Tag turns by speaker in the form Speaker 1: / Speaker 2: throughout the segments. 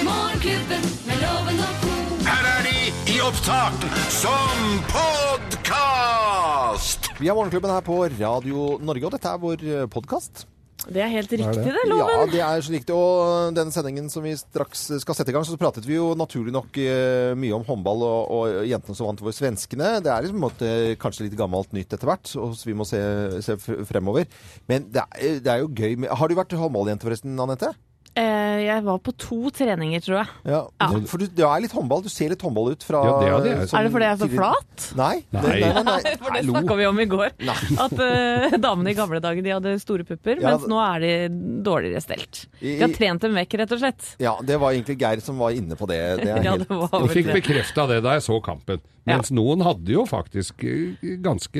Speaker 1: Morgenklubben med loven og ko.
Speaker 2: Her er de i opptak som podkast!
Speaker 3: Vi har Morgenklubben her på Radio Norge, og dette er vår podkast.
Speaker 4: Det er helt riktig, det,
Speaker 3: Ja,
Speaker 4: Loven.
Speaker 3: det er så riktig. Og den sendingen som vi straks skal sette i gang, så pratet vi jo naturlig nok eh, mye om håndball og, og jentene som vant over svenskene. Det er liksom på en måte kanskje litt gammelt nytt etter hvert, og så vi må se, se f- fremover. Men det er, eh, det er jo gøy med Har du vært håndballjente forresten, Anette?
Speaker 4: Eh, jeg var på to treninger, tror jeg.
Speaker 3: Ja. For du, du er litt håndball. Du ser litt håndball ut fra
Speaker 5: Ja, det hadde jeg.
Speaker 3: som
Speaker 4: er det fordi jeg er så
Speaker 3: tidlig-
Speaker 4: flat?
Speaker 3: Nei.
Speaker 5: Nei.
Speaker 3: nei, nei, nei.
Speaker 4: For det
Speaker 5: Hallo.
Speaker 4: snakka vi om i går. At eh, damene i gamle dager de hadde store pupper,
Speaker 3: Ja,
Speaker 4: mens nå er de dårligere stelt. De har
Speaker 3: I-
Speaker 4: trent dem vekk, rett og slett.
Speaker 3: Ja, det var egentlig Geir som var inne på det. Det er
Speaker 4: Ja,
Speaker 3: helt
Speaker 4: det var
Speaker 5: Og
Speaker 4: vel
Speaker 5: fikk
Speaker 4: det.
Speaker 5: bekrefta det da jeg så kampen. Mens noen hadde jo faktisk eh, ganske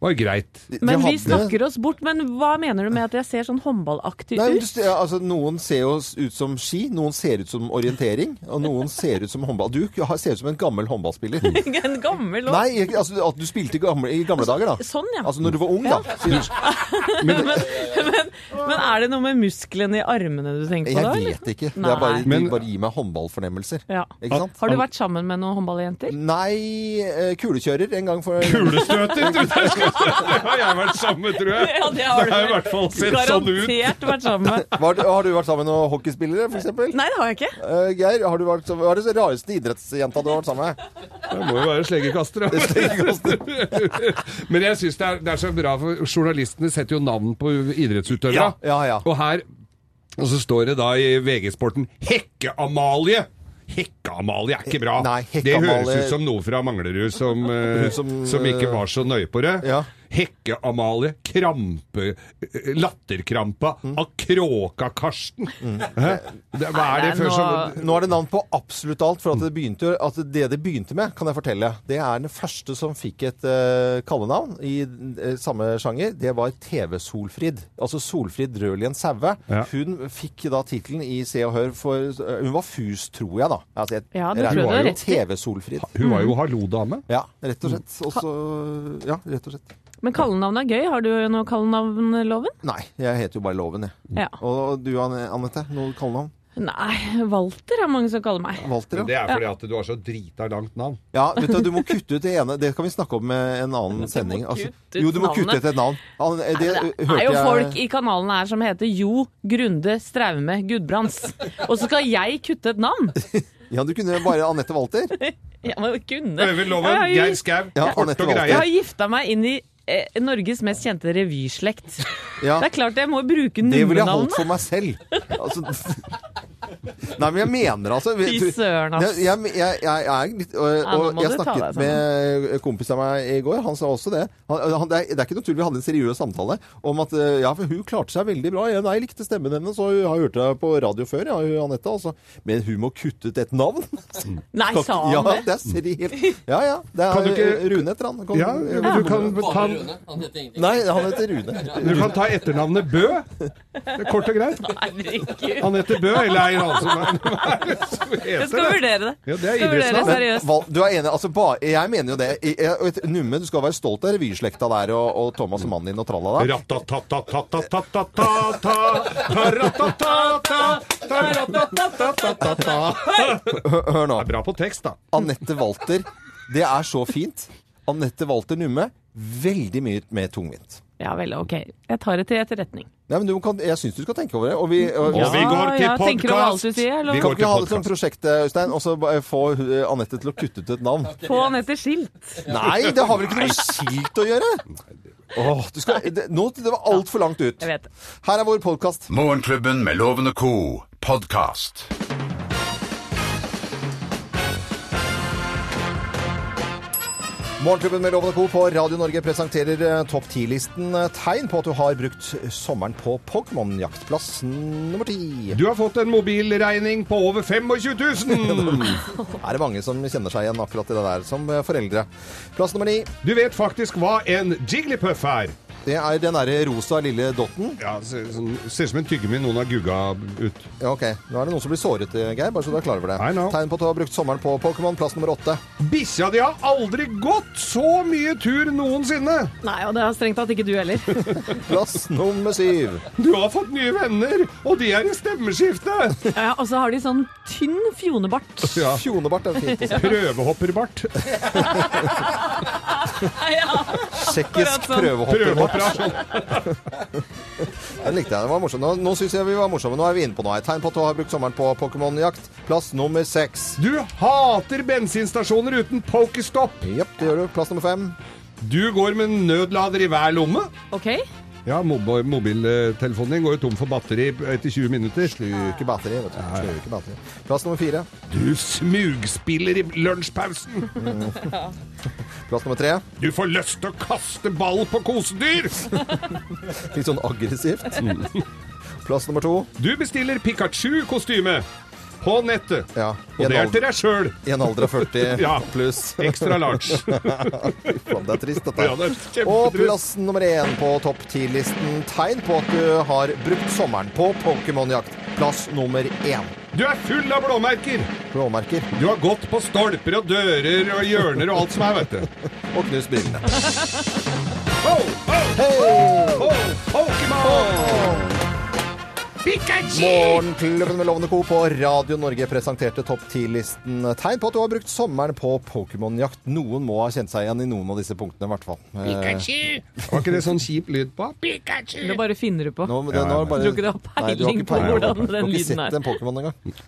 Speaker 5: Var greit.
Speaker 3: De- de
Speaker 4: Men vi
Speaker 3: hadde-
Speaker 4: snakker oss bort. Men hva mener du med at jeg ser sånn håndballaktig
Speaker 3: Nei, men du,
Speaker 4: ut?
Speaker 3: ser- altså, noen ser jo ut som ski, noen ser ut som orientering, og noen ser ut som håndball. Du har- ser ut som en gammel håndballspiller.
Speaker 4: En gammel og
Speaker 3: Nei, ikke- altså at du spilte i gamle, i gamle dager, da.
Speaker 4: Sånn, ja. Hm.
Speaker 3: Altså når du var ung, da.
Speaker 4: Men er det noe med musklene i armene du tenker på da?
Speaker 3: Jeg
Speaker 4: eller?
Speaker 3: vet ikke. Det er
Speaker 4: Nei.
Speaker 3: bare, de
Speaker 5: Men-
Speaker 3: bare gir meg håndballfornemmelser.
Speaker 4: Ja.
Speaker 3: Ikke sant?
Speaker 4: Har du vært sammen med noen håndballjenter?
Speaker 3: Nei, eh, kulekjører en gang for
Speaker 5: Kulestøter! tror jeg skal- Det har jeg vært sammen med, tror jeg.
Speaker 4: det har
Speaker 5: Det har i hvert fall sett sånn ut.
Speaker 4: Garantert vært sammen med.
Speaker 3: Var, Har du vært sammen med noen hockeyspillere, f.eks.?
Speaker 4: Nei, det har jeg ikke.
Speaker 3: Uh, Geir, har du vært, hva er det rareste idrettsjenta du har vært sammen med?
Speaker 5: Det må jo være sleggekaster. da. Men jeg syns det, er- det er så bra, for journalistene setter jo navn på idrettsutøvere.
Speaker 3: Ja, ja, ja.
Speaker 5: Og her og så står det da i VG-sporten 'Hekke-Amalie'. Hekke-Amalie er ikke bra.
Speaker 3: Nei,
Speaker 5: det
Speaker 3: Hekke-Amalie-
Speaker 5: høres ut som noe fra Manglerud som, eh,
Speaker 3: Hun som,
Speaker 5: som, ikke var så nøye på det.
Speaker 3: Ja.
Speaker 5: Hekke-Amalie, krampe, eh, latterkrampa
Speaker 3: Mm.
Speaker 5: av Kråka-Karsten. Hæ? Det, hva er
Speaker 4: Nei,
Speaker 5: det før
Speaker 4: nå-
Speaker 5: som
Speaker 3: Nå er det navn på absolutt alt, for at det begynte jo at det det begynte med, kan jeg fortelle. Det er den første som fikk et eh, kallenavn i eh, samme sjanger. Det var TV-Solfrid. Altså Solfrid Rølien Saue.
Speaker 5: Ja.
Speaker 3: Hun fikk da tittelen i Se og Hør for eh, Hun var FUS, tror jeg, da. Altså, jeg,
Speaker 4: Ja, det
Speaker 3: jeg- hun
Speaker 4: tror jeg du har
Speaker 3: var jo
Speaker 4: rett i.
Speaker 3: TV-Solfrid.
Speaker 5: Hun var jo hallo-dame.
Speaker 3: Ja, rett og slett. Og så- Ja, rett og slett.
Speaker 4: Men kallenavn er gøy. Har du noe kallenavn, Loven?
Speaker 3: Nei, jeg heter jo bare Loven, jeg.
Speaker 4: Ja.
Speaker 3: Og du, Anne- Anette? Noe kallenavn?
Speaker 4: Nei, Walter er mange som kaller meg.
Speaker 3: Walter, ja.
Speaker 5: Men det er fordi at du har så drita langt navn.
Speaker 3: Ja, vet du, du må kutte ut det ene. Det kan vi snakke om eh, en annen sending. Altså,
Speaker 4: kutte ut
Speaker 3: jo, du må kutte
Speaker 4: navnet.
Speaker 3: ut et navn. Han- eh,
Speaker 4: Det
Speaker 3: Det
Speaker 4: er
Speaker 3: hørte
Speaker 4: jo
Speaker 3: jeg-
Speaker 4: folk i kanalen her som heter Jo Grunde Straume Gudbrands. Og så skal jeg kutte et navn!
Speaker 3: Ja, du kunne bare Anette Walter.
Speaker 4: Jeg må jo kunne.
Speaker 5: Øyvind Loven,
Speaker 4: Jeg har jo-
Speaker 5: Geir Skau,
Speaker 3: Ja,
Speaker 5: kort
Speaker 3: Anette
Speaker 5: og
Speaker 3: Walter.
Speaker 4: Jeg har
Speaker 5: greie.
Speaker 4: gifta meg inn i eh, Norges mest kjente revyslekt.
Speaker 3: Ja,
Speaker 4: Det er klart jeg må bruke
Speaker 3: det ville jeg holdt for
Speaker 4: nummenavnet.
Speaker 3: meg selv. Altså, nei, men jeg mener altså
Speaker 4: Fy søren, ass.
Speaker 3: Jeg, jeg, jeg, jeg er litt Og,
Speaker 4: Ja, nå
Speaker 3: og
Speaker 4: må
Speaker 3: jeg
Speaker 4: du ta deg
Speaker 3: snakket med kompis av meg i går, han sa også det. Han, øh, han, det, er, det er ikke noe tull, vi hadde en seriøs samtale om at eh, ja, for hun klarte seg veldig bra. Jeg, nei, jeg likte stemmen hennes, og jeg har hørt deg på radio før, ja, hun Anette, altså. Men hun må kutte ut et navn.
Speaker 4: Nei, sa
Speaker 3: ja,
Speaker 4: han det?
Speaker 3: det? er seriøst. Ja, ja. Det er
Speaker 5: Kan du ikke-
Speaker 3: Rune heter han. Kan-
Speaker 5: Ja, men du kan ta,
Speaker 3: Nei, han heter Rune.
Speaker 5: du kan ta etternavnet Bø. Det er kort og greit.
Speaker 4: Herregud.
Speaker 5: Han heter Bø, eller er han som hva er det som
Speaker 4: Jeg
Speaker 5: heter det?
Speaker 4: skal vurdere det.
Speaker 5: Ja, det er
Speaker 4: Skal vurdere
Speaker 5: idrettsnavn.
Speaker 4: seriøst.
Speaker 3: Val, du er enig, altså ba, Jeg mener jo det. I- jeg- og et- Numme, du skal være stolt av revyslekta der og, og Thomas og mannen din og tralla der.
Speaker 5: Ratatatatatatatata
Speaker 3: Hør, hør nå.
Speaker 5: Bra på tekst, da.
Speaker 3: Anette Walter. Det er så fint. Anette Walter Numme. Veldig mye med tungvint.
Speaker 4: Ja vel, ok. Jeg tar det til etterretning.
Speaker 3: Nei, men du kan, jeg syns du skal tenke over det. Og vi, og,
Speaker 5: Og vi går til
Speaker 4: Ja, jeg tenker over alt du
Speaker 5: podkast.
Speaker 4: sier, eller?
Speaker 5: Vi
Speaker 3: kan
Speaker 5: går
Speaker 3: ikke vi
Speaker 5: til
Speaker 3: ha det som
Speaker 5: podkast.
Speaker 3: prosjekt, eh, Øystein, og så bare få eh, Anette til å kutte ut et navn?
Speaker 4: Få han etter skilt.
Speaker 3: Nei, det har vel ikke noe skilt å gjøre? Åh, du skal, det, nå, det var altfor langt ut.
Speaker 4: Jeg vet det.
Speaker 3: Her er vår podkast.
Speaker 2: Morgenklubben med Loven og Co. podkast.
Speaker 3: Morgenklubben med Loven og Co. på Radio Norge presenterer eh, topp 10-listen eh, tegn på at du har brukt sommeren på Pokémon-jaktplass nummer ti.
Speaker 5: Du har fått en mobilregning på over 25 000!
Speaker 3: Er det mange som kjenner seg igjen akkurat i det der som eh, foreldre? Plass nummer ni.
Speaker 5: Du vet faktisk hva en jigglypuff er.
Speaker 3: Det er den derre rosa lille dotten.
Speaker 5: Ja, ser, sånn, ser ut som en tyggegummi noen har gugga ut.
Speaker 3: Ja, ok. Nå er det noen som blir såret, eh, Geir, bare så du er klar over det.
Speaker 5: I know.
Speaker 3: Tegn på at du har brukt sommeren på Pokémon, plass nummer åtte.
Speaker 5: Bikkja di har aldri gått så mye tur noensinne!
Speaker 4: Nei, og det har strengt tatt ikke du heller.
Speaker 3: Plass nummer syv.
Speaker 5: Du har fått nye venner, og de er i stemmeskiftet!
Speaker 4: Ja, ja, og så har de sånn tynn fjonebart.
Speaker 5: Ja.
Speaker 3: Fjonebart er fint å si.
Speaker 5: Prøvehopperbart.
Speaker 4: Ja. Akkurat
Speaker 3: Tsjekkisk
Speaker 4: sånn.
Speaker 3: prøvehopper.
Speaker 5: Prøvehoppera.
Speaker 3: Den likte jeg. Det var morsomt. Nå, nå syns jeg vi var morsomme. Nå er vi inne på noe. her. Tegn på at du har brukt sommeren på Pokémon-jakt. Plass nummer seks.
Speaker 5: Du hater bensinstasjoner uten pokerstopp.
Speaker 3: Jepp, det gjør du. Plass nummer fem.
Speaker 5: Du går med nødlader i hver lomme.
Speaker 4: Ok.
Speaker 5: Ja, mob- mobiltelefonen din går jo tom for batteri etter 20 minutter.
Speaker 3: Sluker batteri, vet du. Sluker batteri. Plass nummer fire.
Speaker 5: Du smugspiller i lunsjpausen.
Speaker 3: Plass nummer tre.
Speaker 5: Du får lyst til å kaste ball på kosedyr.
Speaker 3: Litt sånn aggressivt.
Speaker 5: Mm.
Speaker 3: Plass nummer to.
Speaker 5: Du bestiller Pikachu-kostyme på nettet.
Speaker 3: Ja.
Speaker 5: Og det er til deg sjøl.
Speaker 3: I en alder av 40
Speaker 5: Ja.
Speaker 3: pluss.
Speaker 5: Ekstra large.
Speaker 3: Faen, det er trist, dette.
Speaker 5: Ja, det er kjempetrist.
Speaker 3: Og plass nummer én på topp ti-listen. Tegn på at du har brukt sommeren på Pokémon-jakt. Plass nummer én.
Speaker 5: Du er full av blåmerker.
Speaker 3: Blåmerker.
Speaker 5: Du har gått på stolper og dører og hjørner og alt som er, vet du.
Speaker 3: Og knust brillene.
Speaker 5: Ho, ho,
Speaker 3: Hei!
Speaker 5: ho, Pokémon! Pikachu!
Speaker 3: Morgenklubben med Lovende Co. på Radio Norge presenterte topp 10-listen tegn på at du har brukt sommeren på Pokémon-jakt. Noen må ha kjent seg igjen i noen av disse punktene, i hvert fall. Eh,
Speaker 5: Var ikke det sånn kjip lyd på? Pikachu!
Speaker 4: Det bare finner du på.
Speaker 3: nå, det, nå er det bare,
Speaker 4: Jeg tror ikke du har
Speaker 3: Nei, du har ikke
Speaker 4: peiling på
Speaker 3: Du
Speaker 4: hvordan
Speaker 3: har
Speaker 4: den
Speaker 3: ikke
Speaker 4: lyden
Speaker 3: sett
Speaker 4: er.
Speaker 3: en Pokémon engang.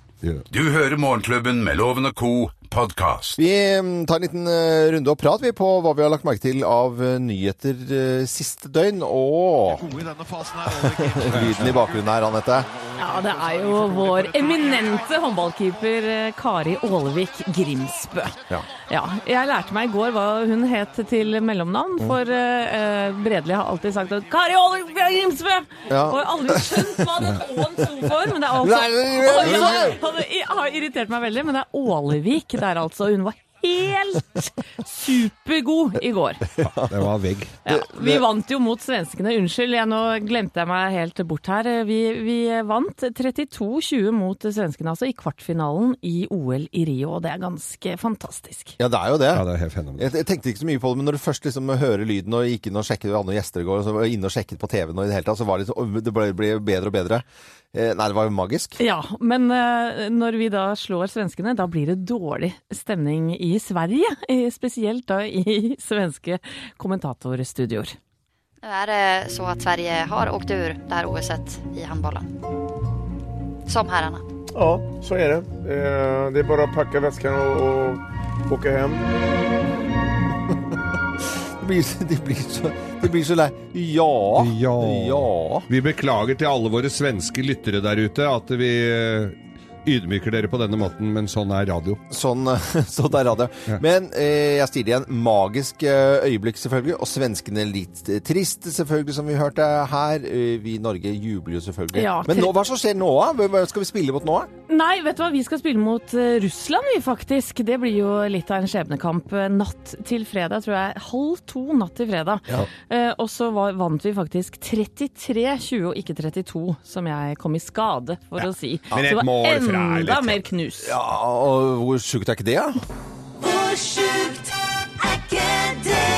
Speaker 2: Du hører Morgenklubben med Loven og Co. podkast.
Speaker 3: Vi mm, tar en liten eh, runde og prat vi på hva vi har lagt merke til av eh, nyheter eh, siste døgn. Og
Speaker 6: gode i denne fasen her. Ole Kim.
Speaker 3: lyden i bakgrunnen her, Anette.
Speaker 4: Ja, det er jo vår eminente håndballkeeper eh, Kari Ålevik Grimsbø.
Speaker 3: Ja.
Speaker 4: Ja, jeg lærte meg i går hva hun het til mellomnavn, for eh, eh, Bredli har alltid sagt at Kari Ålevik Grimsbø!
Speaker 3: Ja.
Speaker 4: Og jeg har aldri skjønt hva den Å-en sto for, men det er altså
Speaker 3: Nei, nei, nei, nei.
Speaker 4: Og det i- har irritert meg veldig, men det er Ålevik der altså. Hun var helt supergod i går.
Speaker 5: Det var vegg.
Speaker 4: Ja, vi vant jo mot svenskene. Unnskyld, jeg, nå glemte jeg meg helt bort her. Vi, vi vant 32-20 mot svenskene altså, i kvartfinalen i OL i Rio, og det er ganske fantastisk.
Speaker 3: Ja, det er jo det.
Speaker 5: Ja, det er helt fenomenalt.
Speaker 3: Jeg, jeg tenkte ikke så mye på det, men når du først liksom hører lyden og gikk inn og sjekket andre gjester i går, og så var jeg inne og sjekket på TV-en og i det hele tatt, så var det, liksom, det ble, ble bedre og bedre. Eh, nei, det var jo magisk.
Speaker 4: Ja, men eh, når vi da slår svenskene, da blir det dårlig stemning i Sverige. eh, Spesielt da i svenske kommentatorstudioer.
Speaker 7: Nu är det så att Sverige har åkt ur det här OSet i handbollen. Som herrarna.
Speaker 8: Ja, så är det. Eh, Det är bara att packa väskan och, och åka hem.
Speaker 3: De blir, så- de blir, så, de blir så lei. Ja.
Speaker 5: Ja.
Speaker 3: ja.
Speaker 5: Vi beklager til alle våre svenske lyttere der ute at vi eh, ydmyker dere på denne måten, men sånn er radio.
Speaker 3: Sånn, så der hadde jeg. Men eh, jeg stiller igjen magisk eh, øyeblikk, selvfølgelig. Og svenskene litt eh, trist, selvfølgelig, som vi hørte her. Eh, Vi i Norge jubler jo selvfølgelig.
Speaker 4: Ja,
Speaker 3: Men
Speaker 4: til-
Speaker 3: nå, hva som skjer nå? da? Hvem hvem skal vi spille mot nå? da?
Speaker 4: Nei, vet du hva? Vi skal spille mot eh, Russland, vi faktisk. Det blir jo litt av en skjebnekamp. Eh, Natt til fredag, tror jeg. Halv to natt til fredag. Eh, og så var, vant vi faktisk 33-20 og ikke 32, som jeg kom i skade for å si.
Speaker 5: Men et
Speaker 4: så det
Speaker 5: mål
Speaker 4: var
Speaker 5: fra er
Speaker 4: enda
Speaker 5: litt-
Speaker 4: mer knus.
Speaker 3: Ja, Ah, og hvor sjukt er ikke det, da?
Speaker 1: Hvor sjukt er ikke det?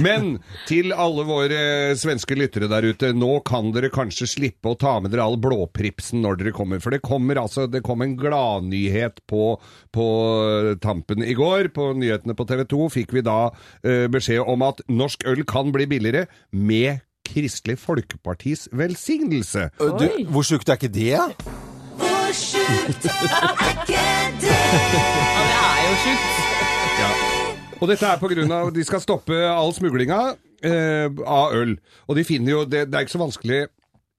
Speaker 5: Men til alle våre svenske lyttere der ute, nå kan dere kanskje slippe å ta med dere all blåpripsen når dere kommer. For det kommer altså Det kom en gladnyhet på, på eh, tampen i går. På nyhetene på TV 2 fikk vi da eh, beskjed om at norsk øl kan bli billigere med Kristelig Folkepartis velsignelse.
Speaker 3: Eh, Du,
Speaker 4: Oi.
Speaker 3: hvor sjukt er ikke det? da?
Speaker 1: Hvor sjukt er ikke det?
Speaker 4: Ja, det er jo sjukt.
Speaker 5: Og dette er på grunn av De skal stoppe all smuglinga eh, av øl. Og de finner jo det, det er ikke så vanskelig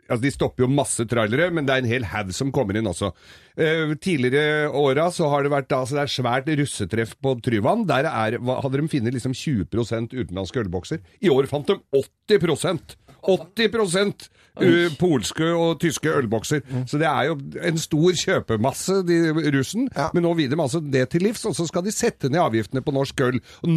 Speaker 5: Altså, De stopper jo masse trailere, men det er en hel haug som kommer inn også. Eh, tidligere åra så har det vært altså det er svært russetreff på Tryvann. Der er, hva- hadde de funnet liksom 20 utenlandske ølbokser. I år fant de 80 80 u- eh, polske og tyske ølbokser. Så det er jo en stor kjøpemasse, de russen.
Speaker 3: Ja.
Speaker 5: Men nå vil de altså det til livs, og så skal de sette ned avgiftene på norsk øl. Og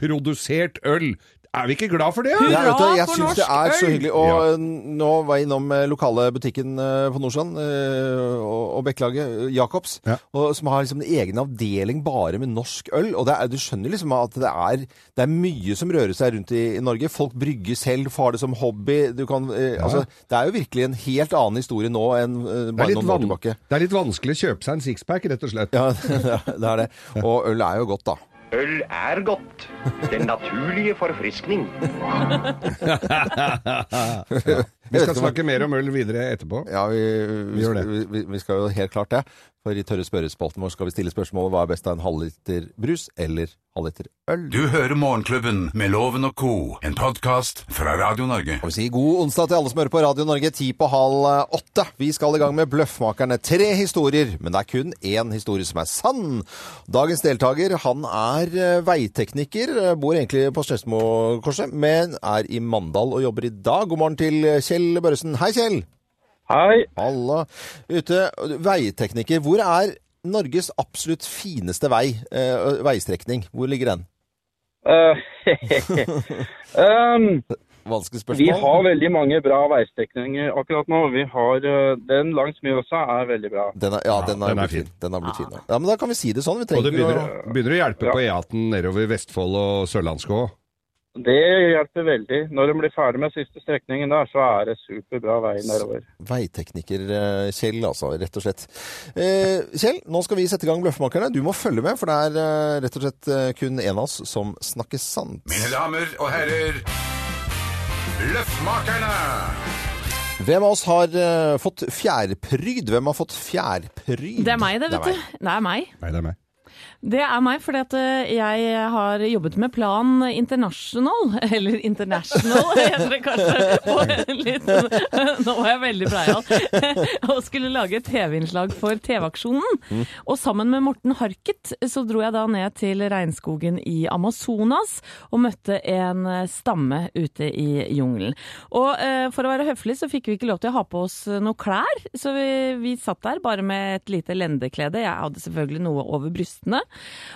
Speaker 5: Norskprodusert øl. Er vi ikke glad for det?
Speaker 3: Nei,
Speaker 5: da?
Speaker 3: vet du, jeg
Speaker 4: for
Speaker 3: syns det
Speaker 4: norsk
Speaker 3: er så
Speaker 4: øl!
Speaker 3: hyggelig. Og eh, nå var jeg innom eh, lokale butikken eh, på Nordstrand eh, og, og Bekkelaget, eh, Jacobs,
Speaker 5: Ja.
Speaker 3: og, som har liksom en egen avdeling bare med norsk øl. Og det er, du skjønner liksom at det er, det er mye som rører seg rundt i, i Norge. Folk brygger selv, får det som hobby. Du kan, eh, altså, det er jo virkelig en helt annen historie nå enn eh,
Speaker 5: Det er,
Speaker 3: bare
Speaker 5: litt
Speaker 3: noen år
Speaker 5: van-
Speaker 3: tilbake.
Speaker 5: det er litt vanskelig å kjøpe seg en sixpack, rett og slett.
Speaker 3: Ja, det er det. Og øl er jo godt, da.
Speaker 6: Øl er godt. Den naturlige forfriskning.
Speaker 5: Vi skal
Speaker 3: Jeg vet ikke om-
Speaker 5: snakke mer om øl videre etterpå.
Speaker 3: Ja, vi, vi,
Speaker 5: gjør det.
Speaker 3: vi, vi, vi skal jo helt klart det. For i tørre spørrespalten vår skal vi stille spørsmålet hva er best av en halvliter brus eller halvliter øl.
Speaker 2: Du hører Morgenklubben med Loven og co., en podkast fra Radio Norge.
Speaker 3: Og vi sier god onsdag til alle som hører på Radio Norge, ti på halv eh, åtte. Vi skal i gang med Bløffmakerne. Tre historier, men det er kun én historie som er sann. Dagens deltaker, han er eh, veitekniker, eh, bor egentlig på Skedsmokorset, men er i Mandal og jobber i dag. God morgen til Kjell Børresen. Hei, Kjell!
Speaker 9: Hei.
Speaker 3: Halla. Ute, veitekniker, hvor er Norges absolutt fineste vei, eh, veistrekning? Hvor ligger den?
Speaker 9: Eh, um,
Speaker 3: Vanskelig spørsmål.
Speaker 9: vi har veldig mange bra veistrekninger akkurat nå. Vi har, eh, den langs Mjøsa er veldig bra.
Speaker 3: den er, ja, den er,
Speaker 5: den er
Speaker 3: blitt fin. Den er blitt fin. ja. Ja, men da kan vi si det sånn. Vi
Speaker 5: Og det
Speaker 3: trenger ikke
Speaker 5: begynner,
Speaker 3: å...
Speaker 5: begynner å hjelpe på E18 nedover Vestfold og Sørlandske òg.
Speaker 9: Det hjelper veldig. Når de blir ferdig med siste strekningen der, så er det superbra vei nedover.
Speaker 3: Veitekniker eh, Kjell, altså, rett og slett. Eh, Kjell, nå skal vi sette i gang Bløffmakerne. Du må følge med, for det er eh, rett og slett eh, kun én av oss som snakker sant.
Speaker 2: Mine damer og herrer, Løffmakerne!
Speaker 3: Hvem av oss har eh, fått fjærpryd? Hvem har fått fjærpryd?
Speaker 4: Det er meg, det, vet
Speaker 3: meg.
Speaker 4: du. Det er meg.
Speaker 5: Nei, det er meg.
Speaker 4: Det er meg, fordi at eh, jeg har jobbet med Plan International, eller International heter det kanskje, på en liten Nå var jeg veldig breial. Og skulle lage et TV-innslag for TV-aksjonen. Og sammen med Morten Harket så dro jeg da ned til regnskogen i Amazonas og møtte en eh, stamme ute i jungelen. Og eh, for å være høflig så fikk vi ikke lov til å ha på oss eh, noe klær, så vi, vi satt der bare med et lite lendeklede. Jeg hadde selvfølgelig noe over brystene.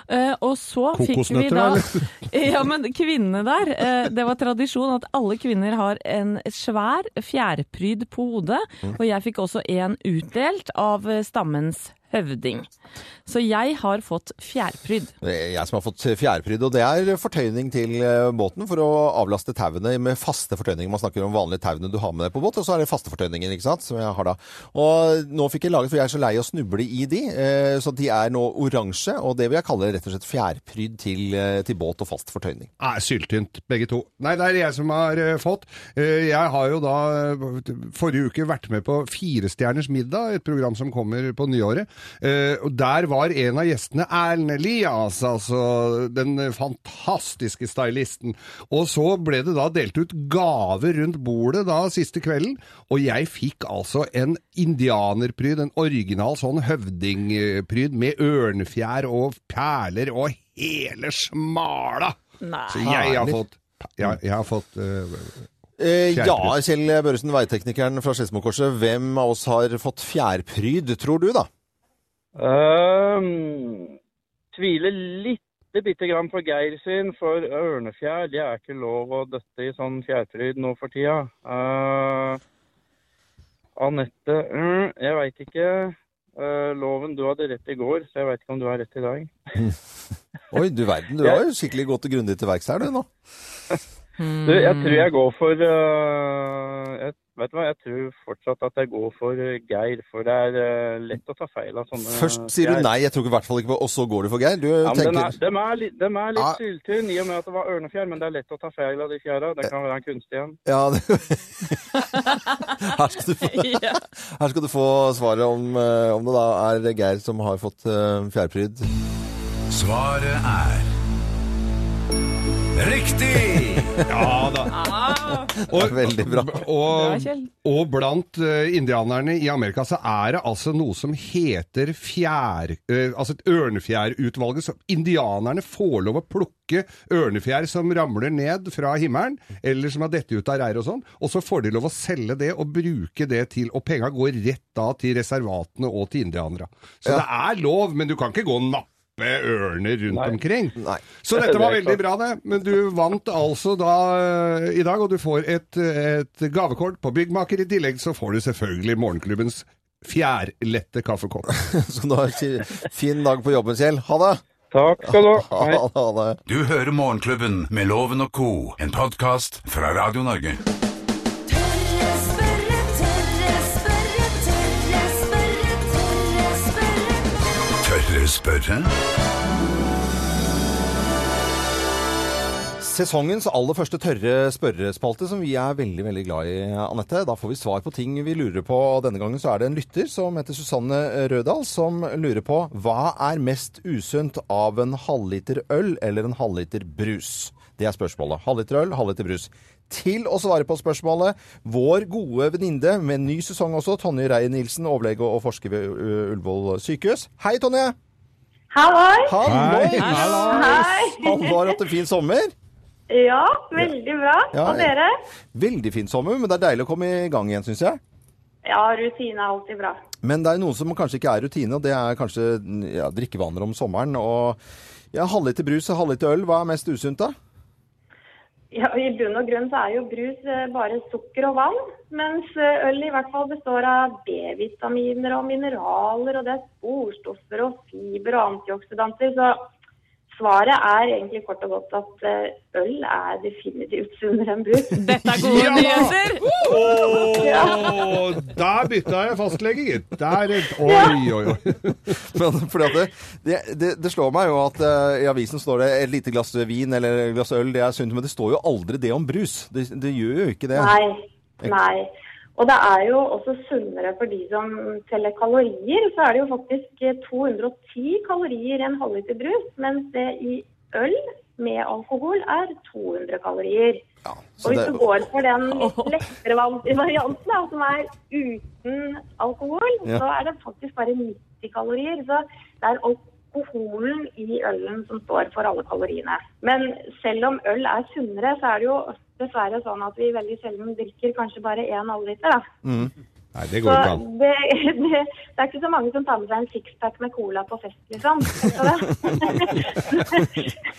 Speaker 4: Eh, og så fikk vi
Speaker 5: Kokosnøtter,
Speaker 4: da Ja, men kvinnene der, eh, det var tradisjon at alle kvinner har en svær fjærpryd på hodet,
Speaker 5: Mm.
Speaker 4: og jeg fikk også en utdelt av eh, stammens høvding. Så jeg har fått fjærpryd.
Speaker 3: Det er jeg som har fått fjærpryd, og det er fortøyning til eh, båten for å avlaste tauene med faste fortøyninger. Man snakker om vanlige tauene du har med deg på båt, og så er det faste fortøyninger, ikke sant, som jeg har da. Og nå fikk jeg laget, for jeg er så lei av å snuble i de, eh, så de er nå oransje, og det vil jeg kalle rett og slett fjærpryd til, eh, til båt og fast fortøyning.
Speaker 5: Nei, syltynt, begge to. Nei, det er jeg som har eh, fått. Eh, jeg har jo da eh, forrige uke vært med på Firestjerners middag, et program som kommer på nyåret. Eh, og der var en av gjestene Erlend Elias, altså den eh, fantastiske stylisten. Og så ble det da delt ut gaver rundt bordet da siste kvelden, og jeg fikk altså en indianerpryd, en original sånn høvdingpryd med ørnefjær og perler og hele smala. Så
Speaker 4: Nei.
Speaker 5: jeg har
Speaker 3: Herlig.
Speaker 5: fått ja, jeg har fått eh,
Speaker 3: Eh, ja,
Speaker 5: Fjærpryd.
Speaker 3: Kjell Børresen, veiteknikeren fra Skedsmokorset, hvem av oss har fått fjærpryd, tror du da?
Speaker 9: Um, tviler lite bitte grann på Geir sin, for ørnefjær det er ikke lov å døtte i sånn fjærfryd nå for tida. Eh, Anette mm, Jeg veit ikke. Eh, loven, du hadde rett i går, så jeg veit ikke om du har rett i dag.
Speaker 3: Oi, du verden, du har jo skikkelig gått grundig til verks her du nå.
Speaker 4: Hmm.
Speaker 9: Du, jeg tror jeg går for eh, jeg, Vet du hva, jeg tror fortsatt at jeg går for eh, Geir, for det er eh, lett å ta feil av sånne
Speaker 3: Først sier du
Speaker 9: fjær.
Speaker 3: nei, jeg tror i hvert fall ikke på, og så går du for Geir. Du
Speaker 9: Ja, men den
Speaker 3: tenker...
Speaker 9: er, dem er, litt- dem er litt
Speaker 3: Ja.
Speaker 9: syltynn i og med at det var ørnefjær, men det er lett å ta feil av de fjæra. Den kan være en kunstig en.
Speaker 3: Ja, det... her, skal du få,
Speaker 4: Ja.
Speaker 3: her skal du få svaret om, eh, om det da er Geir som har fått eh, fjærpryd.
Speaker 2: Svaret er Riktig!
Speaker 5: Ja da. Og,
Speaker 3: Veldig bra.
Speaker 4: Bra,
Speaker 5: og,
Speaker 4: Kjell.
Speaker 5: og blant eh, indianerne i Amerika så er det altså noe som heter fjær... eh, altså et ørnefjærutvalget. Så indianerne får lov å plukke ørnefjær som ramler ned fra himmelen, eller som har dette ut av reir og sånn, og så får de lov å selge det og bruke det til Og penga går rett da til reservatene og til indianere. Så det er lov, men du kan ikke gå og nappe ørner rundt omkring.
Speaker 3: Nei.
Speaker 5: Så dette var veldig bra, det. Men du vant altså da eh, i dag, og du får et, et gavekort på Byggmaker. I tillegg så får du selvfølgelig morgenklubbens fjærlette kaffekopp.
Speaker 3: Så nå er det fin dag på jobben, Kjell. Ha det!
Speaker 9: Takk skal du ha.
Speaker 3: Ha
Speaker 9: Hei.
Speaker 3: det, ha det.
Speaker 2: Du hører Morgenklubben med Loven og Co., en podkast fra Radio Norge.
Speaker 1: Tørre spørre, tørre spørre, tørre spørre, tørre spørre.
Speaker 2: Tørre spørre?
Speaker 3: Sesongens aller første tørre spørrespalte, som vi er veldig veldig glad i, Anette. Da får vi svar på ting vi lurer på. og Denne gangen så er det en lytter som heter Susanne Rødahl, som lurer på hva er mest usunt av en halvliter øl eller en halvliter brus? Det er spørsmålet. Halvliter øl, halvliter brus. Til å svare på spørsmålet, vår gode venninne med ny sesong også, Tonje Reier-Nielsen, overlege og forsker ved U- Ullevål sykehus. Hei, Tonje!
Speaker 10: Halloi!
Speaker 3: Hallois!
Speaker 10: Hei!
Speaker 3: Har du hatt en fin sommer?
Speaker 10: Ja, veldig bra.
Speaker 3: Ja,
Speaker 10: Og dere?
Speaker 3: Veldig fin sommer, men det er deilig å komme i gang igjen, syns jeg.
Speaker 10: Ja, rutine er alltid bra.
Speaker 3: Men det er noe som kanskje ikke er rutine, og det er kanskje ja, drikkevaner om sommeren. Og ja, halvliter brus og halvliter øl, hva er mest usunt da?
Speaker 10: Ja, I bunn og grunn så er jo brus eh, bare sukker og vann, mens eh, øl i hvert fall består av B-vitaminer og mineraler, og det er sporstoffer og fiber og antioksidanter, så svaret er egentlig kort og godt at eh, øl er definitivt sunnere enn brus.
Speaker 4: Dette er gode
Speaker 5: Ja!
Speaker 4: nyheter!
Speaker 5: Oh, der bytta jeg fastlege, gitt. Der Oi, oi, oi.
Speaker 3: Men fordi at det, det, det, det slår meg jo at eh, i avisen står det et lite glass vin eller et glass øl, det er sunt, men det står jo aldri det om brus. Det, det gjør jo ikke det.
Speaker 10: Nei, nei. Og det er jo også sunnere for de som teller kalorier. Så er det jo faktisk eh, 210 kalorier i en halvliter brus, mens det i øl med alkohol er 200 kalorier.
Speaker 3: Ja,
Speaker 10: Og
Speaker 3: så
Speaker 10: hvis
Speaker 3: det,
Speaker 10: du går for den litt lettere val- varianten, da, som er uten alkohol,
Speaker 3: Ja.
Speaker 10: så er det faktisk bare 90 kalorier. Så det er alkoholen i ølen som står for alle kaloriene. Men selv om øl er sunnere, så er det jo dessverre sånn at vi veldig sjelden drikker kanskje bare én halvliter. da.
Speaker 5: Nei, det
Speaker 10: Så
Speaker 5: går ikke an.
Speaker 10: det, det, det er ikke så mange som tar med seg en sixpack med cola på fest, liksom.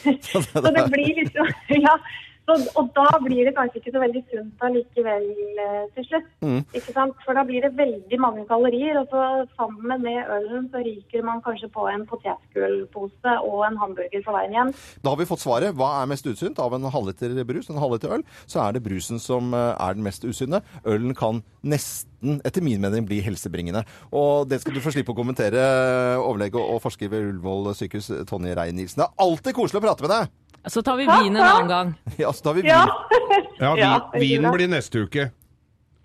Speaker 10: Så det, så det blir liksom Ja. Så, og da blir det kanskje ikke så veldig sunt allikevel eh, til slutt. Ikke sant? For da blir det veldig mange kalorier, og så sammen med ølen så ryker man kanskje på en potetgullpose og en hamburger på veien hjem.
Speaker 3: da har vi fått svaret. Hva er mest usunt av en halvliter brus og en halvliter øl? Så er det brusen som eh, er den mest usunne. Ølen kan nesten, etter min mening, bli helsebringende. Og det skal du få slippe å kommentere, eh, overlege og forsker ved Ullevål sykehus, Tonje Reier-Nielsen. Det er alltid koselig å prate med deg!
Speaker 4: Så tar vi vin en annen gang.
Speaker 3: Ja, så tar vi
Speaker 10: Ja,
Speaker 3: vin.
Speaker 5: Ja,
Speaker 10: Ja,
Speaker 5: vi, Vinen blir neste uke.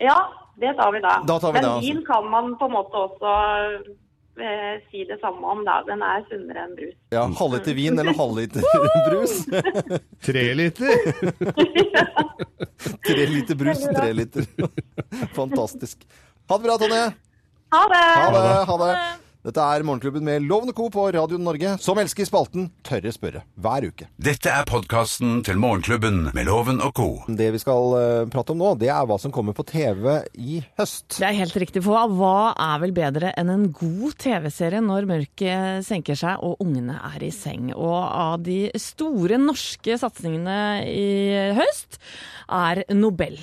Speaker 10: ja det tar vi da.
Speaker 3: Da tar vi
Speaker 10: Men
Speaker 3: det, altså.
Speaker 10: vin kan man på en måte også eh, si det samme om, da. Den er sunnere enn brus.
Speaker 3: Ja, halvliter vin eller halvliter brus.
Speaker 5: Tre liter.
Speaker 3: Tre liter brus, tre liter. Fantastisk. Ha det bra, Tonje.
Speaker 10: Ha det!
Speaker 3: Ha det. ha det. Dette er Morgenklubben med Lovende Co. på Radio Norge, som elsker spalten Tørre spørre hver uke.
Speaker 2: Dette er podkasten til Morgenklubben med Loven og Co.
Speaker 3: Det vi skal eh, prate om nå, det er hva som kommer på TV i høst.
Speaker 4: Det er helt riktig, for hva er vel bedre enn en god TV-serie når mørket senker seg og ungene er i seng? Og av de store norske satsingene i høst er Nobel.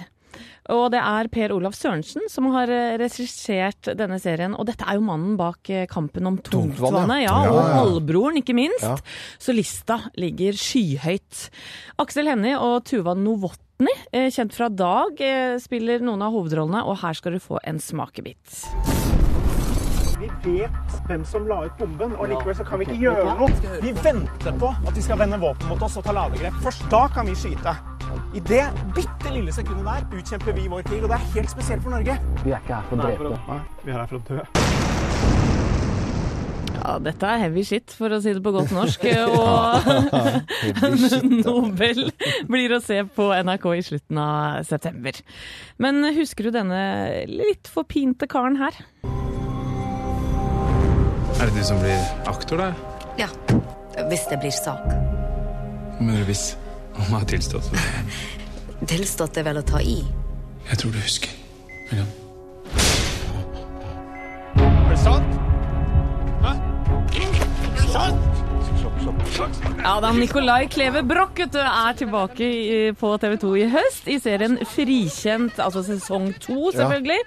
Speaker 4: Og det er Per Olav Sørensen som har eh, regissert denne serien. Og dette er jo mannen bak eh, Kampen om tungtvannet, ja, og Halvbroren, ikke minst. Så lista ligger skyhøyt. Aksel Hennie og Tuva Novotny, eh, kjent fra Dag, eh, spiller noen av hovedrollene, og her skal du få en smakebit.
Speaker 11: Vi vet hvem som la ut bomben, og likevel så kan vi ikke gjøre noe. Vi venter på at de skal vende våpen mot oss og ta ladegrep. Først da kan vi skyte. I det bitte lille sekundet der utkjemper vi vår krig, og det er helt spesielt for Norge. Vi er ikke her for å drepe. Nei, vi er her for å dø.
Speaker 4: Ja, dette er heavy shit, for å si det på godt norsk. Og Nobel blir å se på NRK i slutten av september. Men husker du denne litt forpinte karen her?
Speaker 12: Er det du som blir aktor, da?
Speaker 13: Ja. Hvis det blir sak.
Speaker 12: Mener du hvis om jeg har tilstått?
Speaker 13: Tilstått er vel å ta i.
Speaker 12: Jeg tror du husker. William.
Speaker 11: Er det sant? Hæ? Sant?
Speaker 4: Ja da, Nicolai Kleve Broch vet du, er tilbake i- på TV 2 i høst i serien Frikjent, altså sesong to selvfølgelig.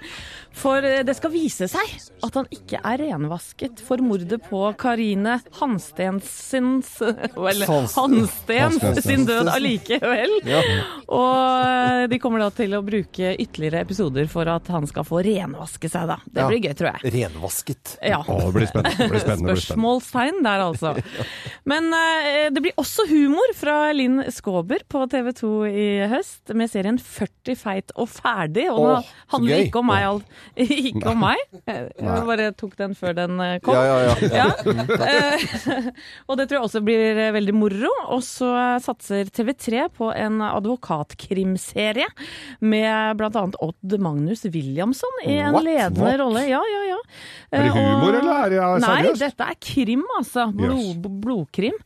Speaker 4: For eh, det skal vise seg at han ikke er renvasket for mordet på Karine Hanstensens Vel,
Speaker 1: Sans-
Speaker 4: Hansten
Speaker 1: Hanstens.
Speaker 4: sin død allikevel.
Speaker 1: Ja.
Speaker 4: Og eh, de kommer da til å bruke ytterligere episoder for at han skal få renvaske seg, da. Det blir gøy, tror jeg.
Speaker 3: Renvasket.
Speaker 4: Ja.
Speaker 5: Å, det blir spennende. Det blir spennende. det blir spennende.
Speaker 4: Spørsmålstegn der, altså. Men eh, det blir også humor fra Linn Skåber på TV 2 i høst med serien 40 feit og ferdig. Og
Speaker 3: Åh,
Speaker 4: det
Speaker 3: så
Speaker 4: handler
Speaker 3: gøy.
Speaker 4: ikke om meg. alt- Ikke om
Speaker 3: Nei.
Speaker 4: meg. Jeg
Speaker 3: Nei.
Speaker 4: bare tok den før den eh, kom.
Speaker 3: Ja, ja, ja.
Speaker 4: Eh, og det tror jeg også blir eh, veldig moro. Og så eh, satser TV3 på en advokatkrimserie med bl.a. Odd Magnus Williamson i en
Speaker 5: What?
Speaker 4: ledende
Speaker 5: What?
Speaker 4: rolle. Ja, ja, ja.
Speaker 5: Er det
Speaker 4: Eh, og-
Speaker 5: humor, eller er det, ja,
Speaker 4: Nei,
Speaker 5: seriøst?
Speaker 4: dette er krim, altså. Blod, Blodkrim.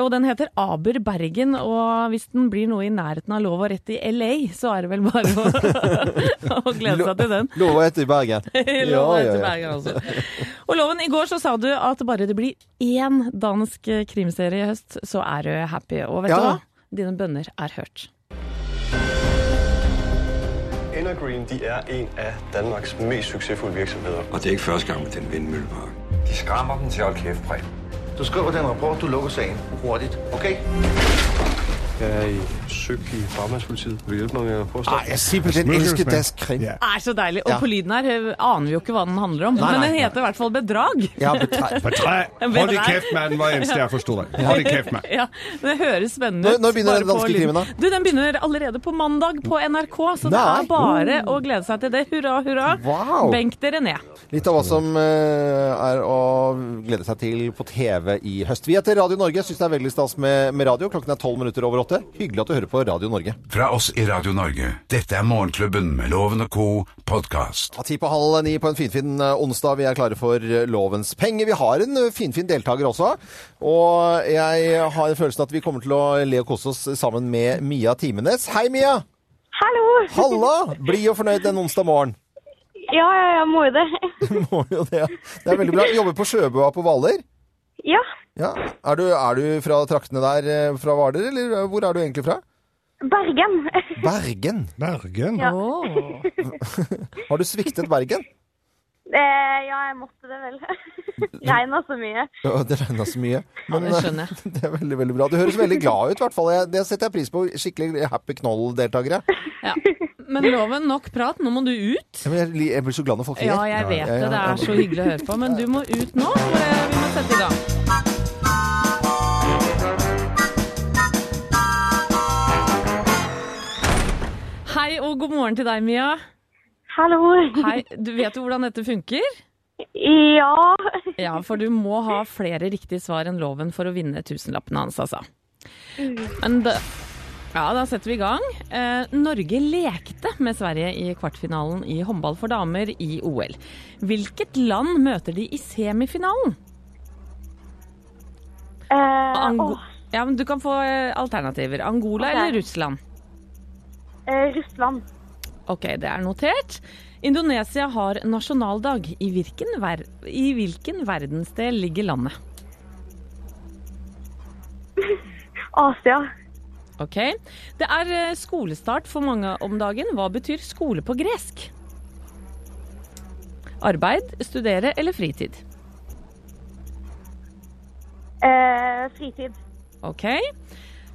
Speaker 4: Og den heter Aber Bergen. Og hvis den blir noe i nærheten av lov og rett i LA, så er det vel bare å, å glede seg til den.
Speaker 3: Lova etter Bergen.
Speaker 4: Lova etter Bergen, altså. Og Loven, i går så sa du at bare det blir én dansk krimserie i høst, så er du happy. Og vet
Speaker 14: Ja.
Speaker 4: du hva? Dine bønner er hørt.
Speaker 15: Energreen de er en af Danmarks mest succesfulde virksomheder.
Speaker 16: Og det er ikke første gang med den vindmøllepark.
Speaker 6: De skræmmer dem til at holde kæft, Preben.
Speaker 16: Du skriver den rapport, du lukker sagen hurtigt, okay?
Speaker 6: Jeg er i søg i farmandspolitiet. Vil du hjælpe mig med at påstå?
Speaker 16: Ej, jeg siger på den Smørkøbsmand. elsker dansk
Speaker 3: krim.
Speaker 4: Det er så deilig. Og
Speaker 6: Ja.
Speaker 4: på lyden her hø- aner vi jo ikke hva den handler om,
Speaker 5: Nei,
Speaker 4: men
Speaker 5: nei,
Speaker 4: den heter i hvert fall Bedrag.
Speaker 5: Ja, betre- betre- Hold i kjeft, mann, var det eneste jeg forsto der. Hold i kjeft, mann.
Speaker 4: Ja, det høres spennende
Speaker 5: Når-
Speaker 4: ut.
Speaker 5: når begynner
Speaker 4: bare
Speaker 5: den danske
Speaker 4: på lyden.
Speaker 5: krimen, da?
Speaker 4: Du, Den begynner allerede på mandag på NRK, så det
Speaker 3: Nei.
Speaker 4: er bare å glede seg til det. Hurra, hurra.
Speaker 3: Wow.
Speaker 4: Benk dere ned.
Speaker 3: Litt av hva som eh, er å glede seg til på TV i høst. Vi heter Radio Norge. Syns det er veldig stas med, med radio. Klokken er tolv minutter over åtte. Hyggelig at du hører på Radio Norge.
Speaker 2: Fra oss i Radio Norge, dette er Morgenklubben med Loven og co. podkast.
Speaker 3: Ja, Ti på halv ni på en finfin eh, onsdag. Vi er klare for eh, lovens penger. Vi har en eh, finfin deltaker også. Og jeg har følelsen at vi kommer til å le og kose oss sammen med Mia Timenes. Hei, Mia!
Speaker 17: Hallo!
Speaker 3: Halla! Blid og fornøyd en onsdag morgen.
Speaker 17: Ja, ja, jeg må jo det.
Speaker 3: Må jo det. Det er veldig bra. Jobber på Sjøbua på Hvaler.
Speaker 17: Ja,
Speaker 3: Ja. Er, du, er du fra traktene der eh, fra Hvaler, eller hvor er du egentlig fra?
Speaker 17: Bergen.
Speaker 3: Bergen. Bergen.
Speaker 17: Ja.
Speaker 3: Har du sviktet Bergen?
Speaker 17: Eh, ja, jeg måtte det vel. Regna så mye.
Speaker 3: Ja, det regna så mye.
Speaker 17: det skjønner
Speaker 3: jeg. Det er veldig, veldig bra. Du høres veldig glad ut, i hvert fall. Jeg- Det setter jeg pris på. Skikkelig happy knoll-deltakere.
Speaker 4: Men loven, nok prat. Nå må du ut.
Speaker 3: Ja, men Jeg, li- jeg blir så glad når folk ler.
Speaker 4: Ja, jeg vet det. Det er så hyggelig å høre på. Men du må ut nå, for eh, vi må sette i gang. Hei og god morgen til deg, Mia.
Speaker 17: Hallo.
Speaker 4: Hei, du vet jo hvordan dette funker?
Speaker 17: Ja.
Speaker 4: Ja, for du må ha flere riktige svar enn loven for å vinne tusenlappene hans, altså.
Speaker 17: Mm.
Speaker 4: Men da, ja, da setter vi i gang. Eh, Norge lekte med Sverige i kvartfinalen i håndball for damer i OL. Hvilket land møter de i semifinalen?
Speaker 17: Eh,
Speaker 4: Ango ja, men du kan få eh, alternativer. Angola
Speaker 17: Ok.
Speaker 4: eller Russland?
Speaker 17: Eh, Russland.
Speaker 4: Ok, det er notert. Indonesia har nasjonaldag. I hvilken, ver i hvilken verdensdel ligger landet?
Speaker 17: Asia.
Speaker 4: Ok. Det er eh, skolestart for mange om dagen. Hva betyr skole på gresk? Arbeid, studere eller fritid?
Speaker 17: Eh, fritid.
Speaker 4: Ok.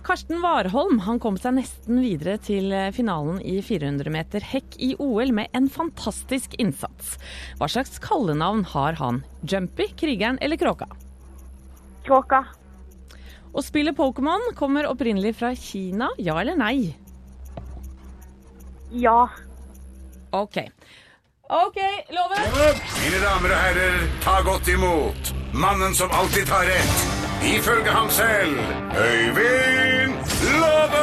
Speaker 4: Karsten Warholm han kom seg nesten videre til eh, finalen i 400 meter hekk i OL med en fantastisk innsats. Hva slags kallenavn har han? Jumpy, Krigeren eller Kråka?
Speaker 17: Kråka.
Speaker 4: Å spille Pokémon kommer opprinnelig fra Kina, ja eller nei?
Speaker 17: Ja.
Speaker 4: Ok. Ok, Loven.
Speaker 2: Mine damer og herrer, ta godt imot Mannen som alltid tar rett. Ifølge ham selv Øyvind Love!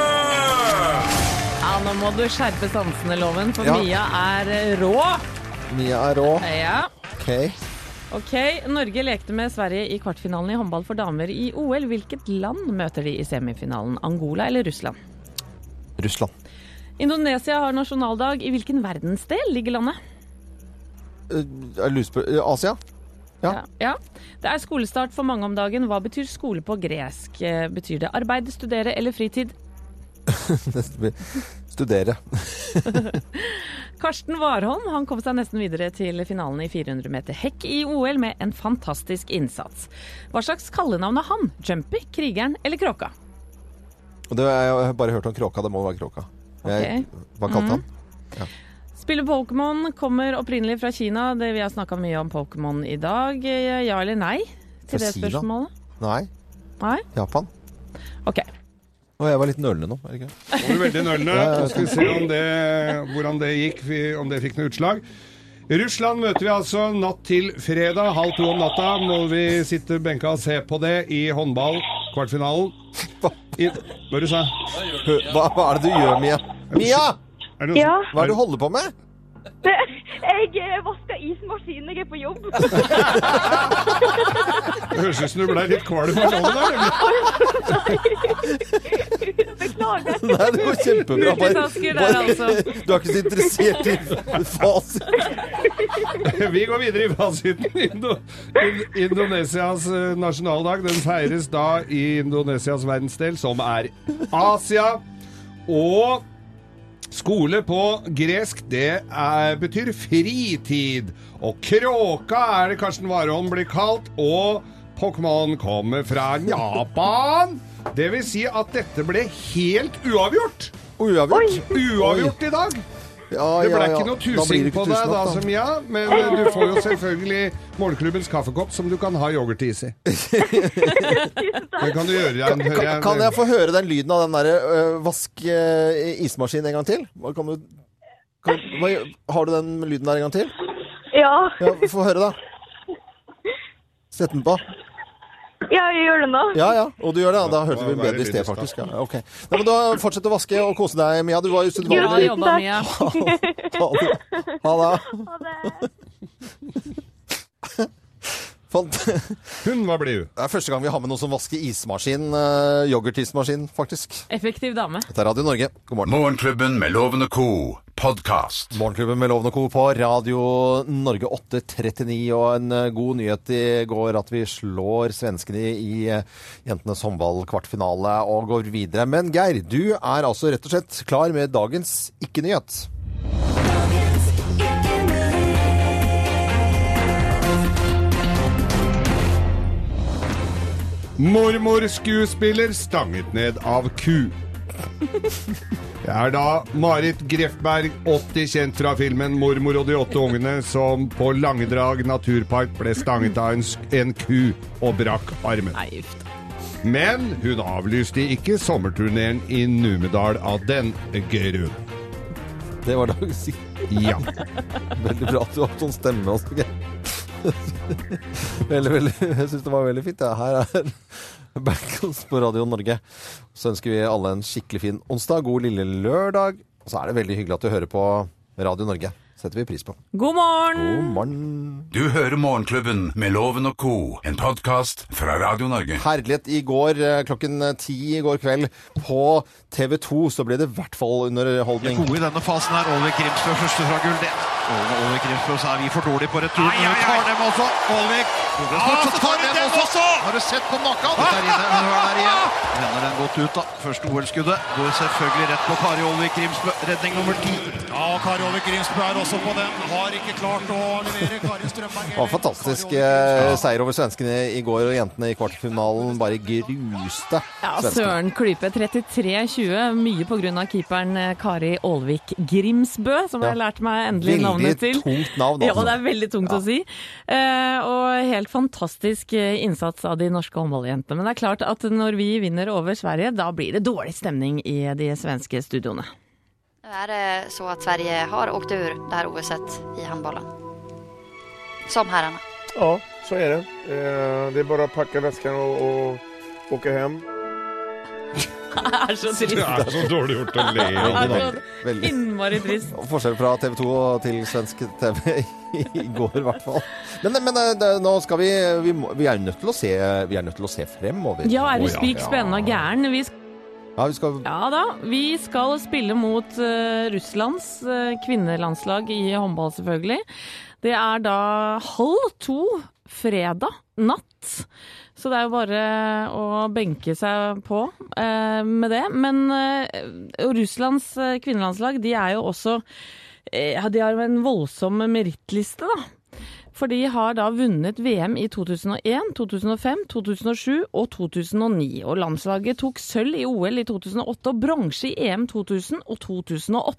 Speaker 4: Ja, nå må du skjerpe sansene, Loven, for
Speaker 3: Ja.
Speaker 4: Mia er eh, rå.
Speaker 3: Mia er rå.
Speaker 4: Ja.
Speaker 3: OK.
Speaker 4: Ok, Norge lekte med Sverige i kvartfinalen i håndball for damer i OL. Hvilket land møter de i semifinalen? Angola eller Russland?
Speaker 3: Russland.
Speaker 4: Indonesia har nasjonaldag. I hvilken verdensdel ligger landet?
Speaker 3: Eh, er Lurespør... eh, Asia? Ja.
Speaker 4: Ja. Det er skolestart for mange om dagen. Hva betyr skole på gresk? Eh, Betyr det arbeid, studere eller fritid?
Speaker 3: Neste blir Studere.
Speaker 4: Karsten Warholm han kom seg nesten videre til finalen i 400 meter hekk i OL med en fantastisk innsats. Hva slags kallenavn har han? Jumpy, Krigeren eller Kråka?
Speaker 3: Og det, jeg har bare hørt om kråka. Det må være kråka. Jeg, Hva kalte
Speaker 4: Mhm.
Speaker 17: Mm.
Speaker 4: Spillet Pokémon kommer opprinnelig fra Kina. Det vi har snakka mye om Pokémon i dag. Eh, Ja eller nei
Speaker 3: Fra
Speaker 4: til det
Speaker 3: Kina?
Speaker 4: spørsmålet?
Speaker 3: han? Nei.
Speaker 4: Nei?
Speaker 3: Japan.
Speaker 4: OK.
Speaker 3: Og jeg var litt nølende nå. er det ikke?
Speaker 5: Nå var du veldig nølende.
Speaker 3: Ja, ja.
Speaker 5: Så Skal vi se om det, hvordan det gikk, vi- om det fikk noe utslag. Russland møter vi altså natt til fredag. Halv to om natta må vi sitte benka og se på det i håndball, kvartfinalen. I, hva er det du sa
Speaker 3: hva, hva er det du gjør, Mia? Mia!
Speaker 5: Er det noe-
Speaker 17: Ja.
Speaker 3: Hva er det du holder på med?
Speaker 17: Jeg eh, vasker ismaskinen, jeg er på jobb.
Speaker 5: Det sånn- høres ut som du ble litt kvalm av sånn der.
Speaker 17: Beklager.
Speaker 3: Nei, det går kjempebra.
Speaker 17: Multitasker der, altså.
Speaker 3: Du er ikke så interessert i fasit.
Speaker 5: Vi går videre i fasiten. Indo in Indonesias eh, nasjonaldag den feires da i Indonesias verdensdel, som er Asia. Og skole på gresk, det er, betyr fritid. Og kråka er det Karsten Warholm blir kalt. Og Pokémon kommer fra Japan. Det vil si at dette ble helt uavgjort.
Speaker 3: Uavgjort.
Speaker 5: Uavgjort i dag.
Speaker 3: Ja,
Speaker 5: Det ble
Speaker 3: ja, ja.
Speaker 5: ikke noe
Speaker 3: Da blir
Speaker 5: tusing
Speaker 3: det ikke
Speaker 5: på deg da,
Speaker 3: tusenlapp, da.
Speaker 5: som ja, men eh, du får jo selvfølgelig morgenklubbens kaffekopp som du kan ha yoghurtis i. Det kan du gjøre, Jan. hører
Speaker 3: Kan,
Speaker 5: jeg.
Speaker 3: kan jeg få høre den lyden av den derre øh, vask øh, ismaskinen en gang til? Hva Kan du, kan, hva, har du den lyden der en gang til?
Speaker 17: Ja,
Speaker 3: Ja, Få høre, da. Sett den på.
Speaker 17: ja, jeg gjør det nå.
Speaker 3: Ja, ja. Og du gjør det? ja. Da hørte
Speaker 5: Ja,
Speaker 3: vi
Speaker 5: da er
Speaker 3: bedre
Speaker 5: det
Speaker 3: i sted,
Speaker 5: lyd i
Speaker 3: faktisk. Ja, ok. Nei, men da Fortsett å vaske og kose deg, Mia. Du var jo
Speaker 4: Bra
Speaker 3: usedvanlig
Speaker 4: jobba, Mia.
Speaker 3: Ha det. Fant.
Speaker 5: Hun, hva blir hun?
Speaker 3: Det er første gang vi har med noen som vasker ismaskin. øh, Yoghurtismaskin, faktisk.
Speaker 4: Effektiv dame.
Speaker 3: Dette er Radio Norge. God morgen.
Speaker 2: Morgenklubben med Loven og Co. podkast.
Speaker 3: Morgenklubben med Loven og Co. på Radio Norge 8.39. Og en eh, god nyhet i går at vi slår svenskene i eh, jentenes håndballkvartfinale og går videre. Men Geir, du er altså rett og slett klar med dagens ikke-nyhet.
Speaker 5: Mormorskuespiller stanget ned av ku. Det er da Marit Grefberg, 80, kjent fra filmen 'Mormor og de åtte ungene', som på Langedrag naturpark ble stanget av en, sk- en ku og brakk armen. Men hun avlyste ikke sommerturneen i Numedal av den grunn.
Speaker 3: Det var dagens ikke.
Speaker 5: Ja.
Speaker 3: Veldig bra at du har sånn stemme også, Geir. Veldig, veldig, jeg syns det var veldig fint. det. Her er Backhouse på Radio Norge. Så ønsker vi alle en skikkelig fin onsdag, god lille lørdag. Og så er det veldig hyggelig at du hører på Radio Norge. setter vi pris på.
Speaker 4: God morgen!
Speaker 3: God morgen.
Speaker 2: Du hører Morgenklubben med Loven og Co., en podkast fra Radio Norge.
Speaker 3: Herlighet i går, eh, klokken ti i går kveld, på TV 2 så ble det i hvert fall underholdning.
Speaker 14: Gode i denne fasen her. Olve Grimsbø første fra gull. Det. Olve, Olve Grimsbø, så er vi for dårlige på returen.
Speaker 3: Ai, ai,
Speaker 14: Vi tar dem også. Olvik.
Speaker 3: så tar de dem også!
Speaker 14: Har du sett på makka? Dette er inne. Hun er der igjen. Vender den godt ut, da. Første OL-skuddet går selvfølgelig rett på Kari Olvik Grimsbø. Redning nummer ti. Ja, Kari Olvik Grimsbø er også på den. Har ikke klart å levere. Kari Strømberg
Speaker 3: Det var en fantastisk eh, seier over svenskene i går, og jentene i kvartfinalen bare gruste
Speaker 4: Ja,
Speaker 3: svenskene.
Speaker 4: Søren Klype, 33-20. Mye pga. keeperen eh, Kari Aalvik Grimsbø, som jeg har lært meg endelig
Speaker 3: Veldig
Speaker 4: navnet til.
Speaker 3: tungt navn,
Speaker 4: Ja,
Speaker 3: altså.
Speaker 4: det er veldig tungt å si. Eh, og helt fantastisk eh, innsats av de norske håndballjentene. Men det er klart at når vi vinner over Sverige, da blir det dårlig stemning i de svenske studioene.
Speaker 7: Nu är det eh, så att Sverige har åkt ur det här OSet i handbollen. Som herrarna.
Speaker 8: Ja, Så är det. Eh, Det är bara att packa väskan och, och åka hem.
Speaker 4: Det er så trist.
Speaker 5: Det er så dårlig gjort å le
Speaker 4: av
Speaker 5: av
Speaker 4: det.
Speaker 5: det.
Speaker 4: er så innmari trist.
Speaker 3: Og Forskjell fra TV 2 til svensk TV i går, i hvert fall. Men, men eh, det, nå skal vi vi, må, vi, er nødt til å se, vi er nødt til å se fremover.
Speaker 4: Ja, er du
Speaker 3: Å,
Speaker 4: spik spennende og gæren? Vi skal,
Speaker 3: Ja, vi skal
Speaker 4: ja da, vi skal spille mot eh, Russlands eh, kvinnelandslag i håndball, selvfølgelig. Det er da halv to fredag natt. Så det er jo bare å benke seg på eh, med det. Men eh, Russlands eh, kvinnelandslag, de er jo også eh, ja, De har jo en voldsom merittliste, da. For de har da vunnet VM i 2001, 2005, 2007 og 2009. Og landslaget tok sølv i OL i 2008 og bronse i E EM 2000 og 2008.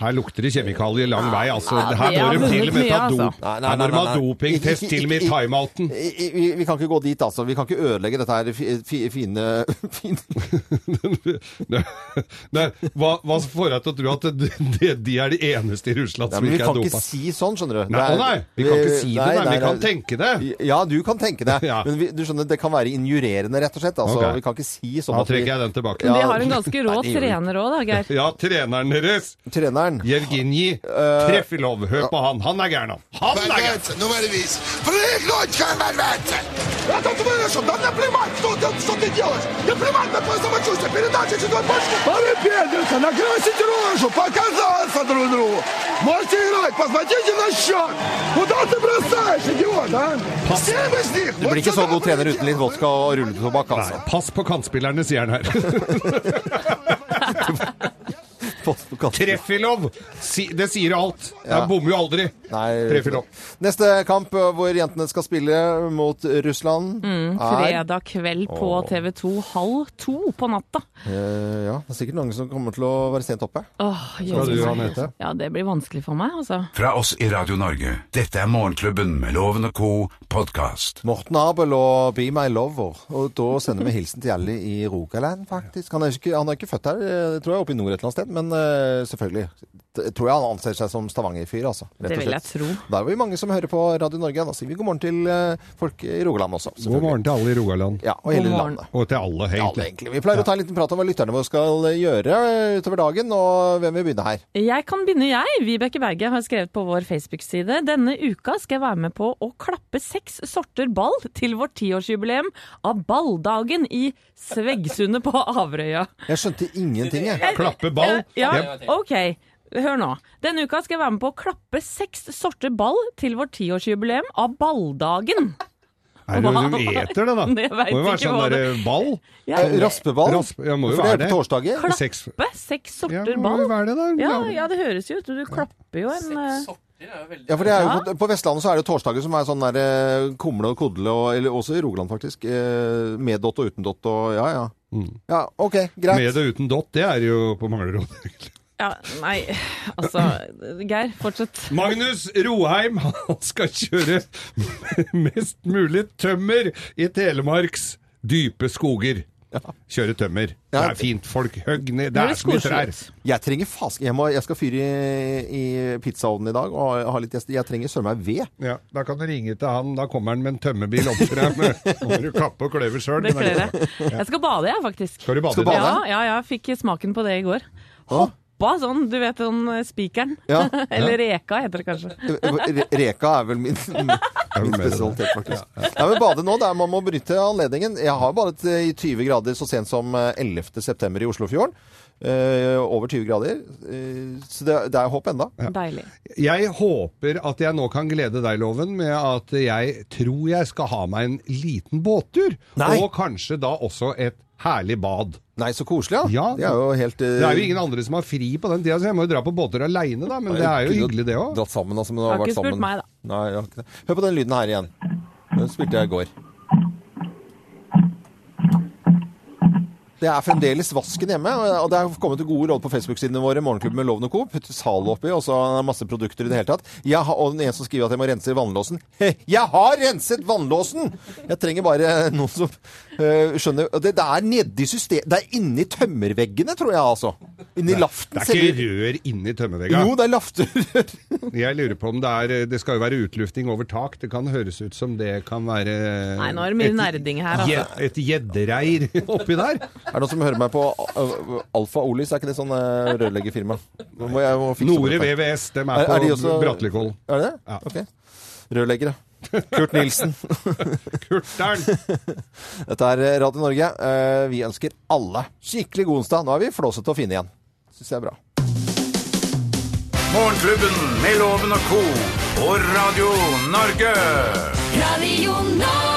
Speaker 5: Her lukter det kjemikalier lang vei, altså.
Speaker 4: Ja, det
Speaker 5: Her
Speaker 4: har
Speaker 5: må de til
Speaker 4: vunnet
Speaker 5: og med ta
Speaker 4: mye,
Speaker 5: dop.
Speaker 4: altså.
Speaker 3: Nei, nei,
Speaker 5: Her må
Speaker 3: nei,
Speaker 5: de ha
Speaker 3: nei, nei.
Speaker 5: dopingtest til og med i
Speaker 3: Ikke- ikke-
Speaker 5: timeouten.
Speaker 3: I- i- Vi, vi kan ikke gå dit, altså. Vi kan ikke ødelegge dette her fi, fi, fine, fine
Speaker 5: Nei, hva, hva får deg til å tro at det, det, de er de eneste i Russland
Speaker 3: Nei,
Speaker 5: som
Speaker 3: men Vi
Speaker 5: ikke er
Speaker 3: kan
Speaker 5: dopa?
Speaker 3: ikke si sånn, skjønner du.
Speaker 5: Nei,
Speaker 3: Det er-
Speaker 5: å nei, vi kan ikke si det, nei, vi kan tenke
Speaker 3: det. Ja, du kan tenke det. Men vi, du skjønner, det kan være injurerende, rett og slett. Altså,
Speaker 5: Ok.
Speaker 3: Vi kan ikke si sånn
Speaker 5: Da
Speaker 3: at vi-
Speaker 5: trekker jeg den tilbake.
Speaker 4: De har en ganske rå
Speaker 5: Nei, det gjør de ikke.
Speaker 4: trener òg, da, Geir.
Speaker 5: Ja, treneren deres.
Speaker 3: Treneren.
Speaker 5: Jevgenij
Speaker 3: Eh,
Speaker 5: Trefilov. Hør på han. Han er gæren, han. Han er gæren!
Speaker 18: Ворвись! Прыгнуть, ворваться! Это ты вышел! Да мне плевать, что ты, что ты делаешь! Мне плевать на твое самочувствие! Передача седой башни! Орепендриться, накрасить рожу, показаться друг другу! Можете играть, посмотрите на счет! Куда ты бросаешь, идиот, а? Семь из них!
Speaker 3: Du blir ikke så god trener uten litt vodka og rulletobakk, altså.
Speaker 5: Pass på kantspillerne, sier han her. Trefilov! Si, det sier alt.
Speaker 3: Ja.
Speaker 5: Han bommer jo aldri. Trefilov.
Speaker 3: Neste kamp eh, hvor jentene skal spille mot Russland
Speaker 4: Mm, fredag kveld på
Speaker 3: Åh.
Speaker 4: TV 2 halv to på natta.
Speaker 3: Eh, Ja, det er sikkert noen som kommer til å være sent oppe.
Speaker 4: Åh,
Speaker 3: Skal du
Speaker 4: jøsse
Speaker 3: ha
Speaker 4: meg.
Speaker 3: møte?
Speaker 4: Ja, det blir vanskelig for meg, altså.
Speaker 2: Fra oss i Radio Norge. Dette er Morgenklubben med Loven og co. podkast.
Speaker 3: Morten Abel og Be My Lover. Og da sender vi hilsen til alle i Rogaland, faktisk. Han er ikke, han er ikke født her, eh, tror jeg, oppe i nord et eller annet sted, men eh, selvfølgelig. Jeg tror jeg han anser seg som Stavanger-fyr, altså. rett
Speaker 4: Det
Speaker 3: og
Speaker 4: vil jeg
Speaker 3: slett. Da er vi mange som hører på Radio Norge. Da sier vi god morgen til eh, folk i Rogaland også. selvfølgelig.
Speaker 5: God morgen til alle i Rogaland.
Speaker 3: og hele God morgen. landet.
Speaker 5: Og til alle, egentlig.
Speaker 3: Vi pleier å ta en liten prat om hva lytterne våre skal eh, gjøre utover dagen, og hvem vil begynne her?
Speaker 4: Jeg kan begynne, jeg. Vibeke Berge har skrevet på vår Facebook-side. Denne uka skal jeg være med på å klappe seks sorter ball til vårt tiårsjubileum av balldagen i Sveggsundet på Averøya.
Speaker 3: Jeg skjønte ingenting, jeg.
Speaker 5: Klappe ball.
Speaker 4: Ja,
Speaker 5: Jeg-
Speaker 4: OK. Hør nå. Denne uka skal jeg være med på å klappe seks sorter ball til vårt tiårsjubileum av balldagen.
Speaker 5: Er det noe de eter, det, da?
Speaker 4: Jeg vet
Speaker 5: må jo være
Speaker 4: ikke
Speaker 5: sånn
Speaker 4: hva det-
Speaker 5: derre ball.
Speaker 4: Ja. Eh,
Speaker 3: raspeball?
Speaker 5: Rasp, ja, må jo
Speaker 3: For det
Speaker 5: være
Speaker 3: er på torsdager.
Speaker 4: Klappe
Speaker 5: Seks-
Speaker 4: seks sorter
Speaker 5: Ja, må
Speaker 4: ball.
Speaker 5: jo være det da.
Speaker 4: Ja, ja, det høres jo ut. Du klapper jo en eh, Seks sorter er jo veldig
Speaker 3: Ja, for det er jo på, på Vestlandet så er det torsdager som er sånn der eh, kumle og kodle, og, eller også i Rogaland faktisk. eh, Med dott og uten dott og ja, ja. Ja, OK, greit.
Speaker 5: Med og uten dott, det er jo på Manglerud.
Speaker 4: Ja, nei, altså Geir, fortsett.
Speaker 5: Magnus Roheim han skal kjøre mest mulig tømmer i Telemarks dype skoger. Kjøre tømmer. Det er fint, folk. Høgg ned. Det er så mye trær.
Speaker 3: Jeg trenger fask... Jeg, må, jeg skal fyre i, i pizzaovnen i dag og ha litt gjester. Jeg trenger søren meg ved.
Speaker 5: Ja, da kan du ringe til han. Da kommer han med en tømmerbil opp til deg. med- Nå må du kappe og kløyve sjøl.
Speaker 4: Beklager. Jeg skal bade, jeg, faktisk.
Speaker 5: Skal du bade Skal du i dag?
Speaker 4: Ja,
Speaker 5: bade?
Speaker 4: ja, jeg fikk smaken på det i går. Hoppa sånn, du vet sånn eh, spikeren.
Speaker 3: Ja.
Speaker 4: Eller reka, heter det kanskje.
Speaker 3: Re- Reka er vel min, min spesialitet, faktisk. Nei, men bade nå, det er, man må bryte anledningen. Jeg har badet eh, i 20 grader så sent som eh, 11. september i Oslofjorden. Eh, over 20 grader. Eh, så det, det er håp enda.
Speaker 4: Deilig.
Speaker 5: Jeg håper at jeg nå kan glede deg, Loven, med at jeg tror jeg skal ha meg en liten båttur.
Speaker 3: Nei.
Speaker 5: Og kanskje da også et herlig bad.
Speaker 3: Nei, så koselig, ja. Det er jo helt eh,
Speaker 5: Det er jo ingen andre som har fri på den tida, så jeg må jo dra på båter aleine, da. Men det er jo
Speaker 3: kunne
Speaker 5: hyggelig, det òg.
Speaker 3: Dratt sammen, altså, men det
Speaker 4: Har
Speaker 3: har vært
Speaker 4: ikke spurt
Speaker 3: sammen.
Speaker 4: meg, da.
Speaker 3: Nei, jeg har ikke det. Hør på den lyden her igjen. Den spilte jeg i går. Det er fremdeles vasken hjemme, og det er kommet gode råd på Facebook-sidene våre, Morgenklubben med Loven og Co. Putt Zalo oppi, og så er det masse produkter i det hele tatt. Jeg har, og den ene som skriver at jeg må rense vannlåsen. He, Jeg har renset vannlåsen! Jeg trenger bare noen som øh, skjønner Og Det, det er nedi system... Det er inni tømmerveggene, tror jeg, altså. Inni laften.
Speaker 5: Det er
Speaker 3: selve-
Speaker 5: ikke rør inni tømmervegga.
Speaker 3: Jo, det er lafter.
Speaker 5: Jeg lurer på om det er eh, Det skal jo være utlufting over tak. Det kan høres ut som det kan være
Speaker 4: Nei, nå er det mye
Speaker 5: et-
Speaker 4: nerding her, altså.
Speaker 5: gje- Et gjeddereir oppi der.
Speaker 3: Er det noen som hører meg på uh, Alfa Olis? Er ikke det sånn uh, rørleggerfirma? Nå må jeg- må fikse
Speaker 5: Nore
Speaker 3: det.
Speaker 5: VVS, dem er på
Speaker 3: de også-
Speaker 5: Brattelikollen.
Speaker 3: Er det det? Ok. Rørleggere. Kurt Nilsen.
Speaker 5: Kurtern!
Speaker 3: Dette er øh, Radio Norge. Eh, Vi ønsker alle skikkelig god onsdag. Nå er vi flåsete og fine igjen. Syns jeg er bra.
Speaker 2: Morgenklubben med Loven og co. og Radio Norge.
Speaker 1: Radio Norge.